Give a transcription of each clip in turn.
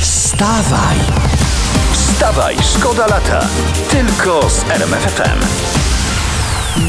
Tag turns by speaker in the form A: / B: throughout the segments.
A: Wstawaj! Wstawaj, szkoda lata. Tylko z RMFFM.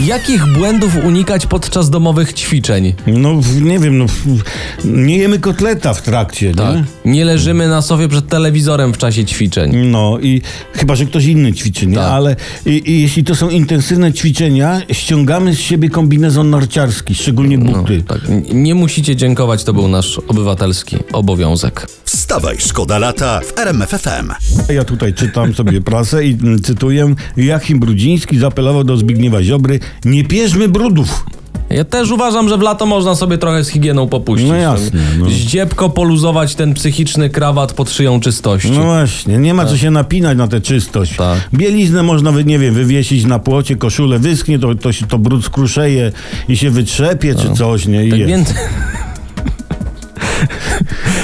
B: Jakich błędów unikać podczas domowych ćwiczeń?
C: No w- nie wiem, no, w- nie jemy kotleta w trakcie,
B: Tak.
C: nie?
B: Nie leżymy na sobie przed telewizorem w czasie ćwiczeń.
C: No i chyba, że ktoś inny ćwiczy, nie?
B: Tak.
C: Ale i, i jeśli to są intensywne ćwiczenia, ściągamy z siebie kombinezon narciarski, szczególnie buty.
B: Tak. N- Nie musicie dziękować, to był nasz obywatelski obowiązek.
A: Wstawaj, szkoda lata w RMFFM.
C: Ja tutaj czytam sobie prasę i mm, cytuję. Joachim Brudziński zaapelował do Zbigniewa Ziobry, nie pierzmy brudów. No
B: Ja też uważam, że w lato można sobie trochę z higieną popuścić.
C: No jasne, no.
B: Zdziepko poluzować ten psychiczny krawat pod szyją czystości.
C: No właśnie, nie ma co się napinać na tę czystość.
B: Tak.
C: Bieliznę można, wy- nie wiem, wywiesić na płocie, koszulę wyschnie, to, to, się, to brud skruszeje i się wytrzepie czy coś, nie? I
B: Tak
C: jest.
B: więc...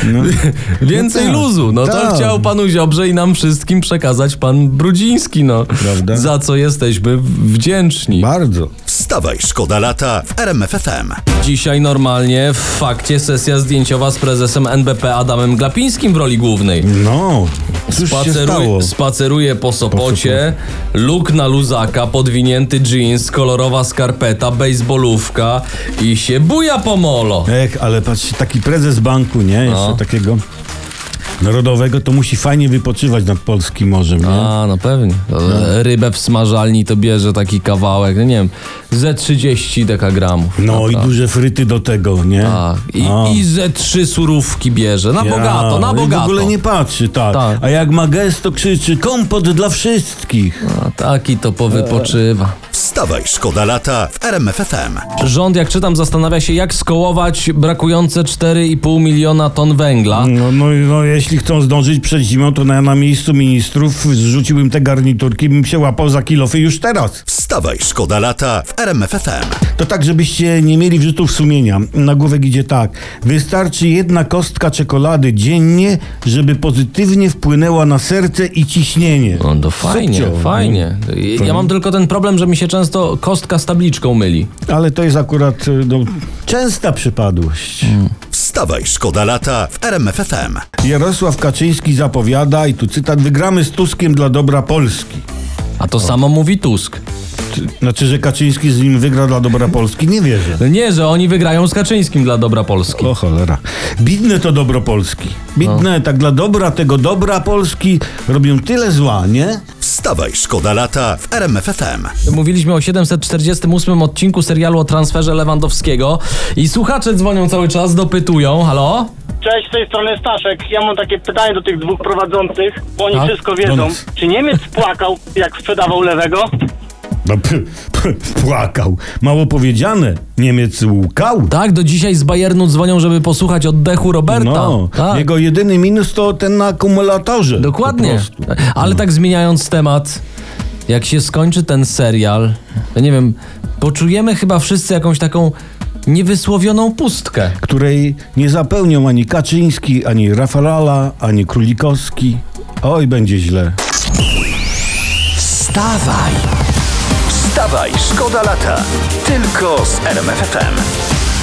C: No.
B: Więcej
C: No tak,
B: luzu. No
C: tak.
B: to chciał panu Ziobrze i nam wszystkim przekazać pan Brudziński, no.
C: Prawda?
B: Za co jesteśmy wdzięczni.
C: Bardzo.
A: Wstawaj, szkoda lata w RMFFM.
B: Dzisiaj normalnie w fakcie sesja zdjęciowa z prezesem NBP Adamem Glapińskim w roli głównej.
C: No, cóż się stało?
B: Spaceruj, spaceruje po Sopocie, luk na luzaka, podwinięty jeans, kolorowa skarpeta, bejsbolówka i się buja po molo.
C: Ech, ale patrz, taki prezes banku, nie? Jeszcze
B: No.
C: takiego narodowego, to musi fajnie wypoczywać nad Polskim Morzem, nie?
B: A, no pewnie. To Rybę w smażalni to bierze taki kawałek, no nie wiem, ze 30 dekagramów.
C: No i duże fryty do tego, nie?
B: Tak. I,
C: A.
B: I ze trzy surówki bierze. Na
C: No. Ja, no
B: bogato, na
C: i
B: bogato.
C: W ogóle nie patrzy, tak.
B: Tak.
C: A jak ma gest, to krzyczy kompot dla wszystkich.
B: A taki to powypoczywa.
A: Wstawaj, szkoda lata w RMFFM.
B: Rząd, jak czytam, zastanawia się, jak skołować brakujące 4,5 miliona ton węgla.
C: No, no, no jeśli chcą zdążyć przed zimą, to na, na miejscu ministrów zrzuciłbym te garniturki, bym się łapał za kilofy już teraz.
A: Wstawaj, szkoda lata w RMFFM.
C: To tak, żebyście nie mieli wrzutów sumienia. Nagłówek idzie tak. Wystarczy jedna kostka czekolady dziennie, żeby pozytywnie wpłynęła na serce i ciśnienie.
B: No to fajnie,
C: Subcio.
B: fajnie. Ja mam tylko ten problem, że mi się często kostka z tabliczką myli.
C: Ale to jest akurat y, no, częsta przypadłość.
A: Wstawaj, szkoda lata w RMFFM.
C: Jarosław Kaczyński zapowiada, i tu cytat, wygramy z Tuskiem dla dobra Polski.
B: A to samo mówi Tusk.
C: Ty- Znaczy, że Kaczyński z nim wygra dla dobra Polski? Nie wierzę.
B: No Nie, że oni wygrają z Kaczyńskim dla dobra Polski.
C: O cholera. Bidne to dobro Polski. Bidne, tak dla dobra tego dobra Polski robią tyle zła, nie?
A: Wstawaj, szkoda lata w RMFFM.
B: Mówiliśmy o 748 odcinku serialu o transferze Lewandowskiego i słuchacze dzwonią cały czas, dopytują, halo?
D: Cześć, z tej strony Staszek. Ja mam takie pytanie do tych dwóch prowadzących, bo oni
B: Tak,
D: wszystko
C: do
D: wiedzą.
C: nas.
D: Czy Niemiec płakał, jak sprzedawał lewego?
C: No, p- p- płakał. Mało powiedziane. Niemiec łukał.
B: Tak, do dzisiaj z Bayernu dzwonią, żeby posłuchać oddechu Roberta.
C: No,
B: tak.
C: jego jedyny minus to ten na akumulatorze. Po
B: Dokładnie.
C: prostu. No.
B: Ale tak zmieniając temat, jak się skończy ten serial, to nie wiem, poczujemy chyba wszyscy jakąś taką niewysłowioną pustkę.
C: Której nie zapełnią ani Kaczyński, ani Rafalala, ani Królikowski. Oj, będzie źle.
A: Wstawaj, szkoda lata. Tylko z RMFFM.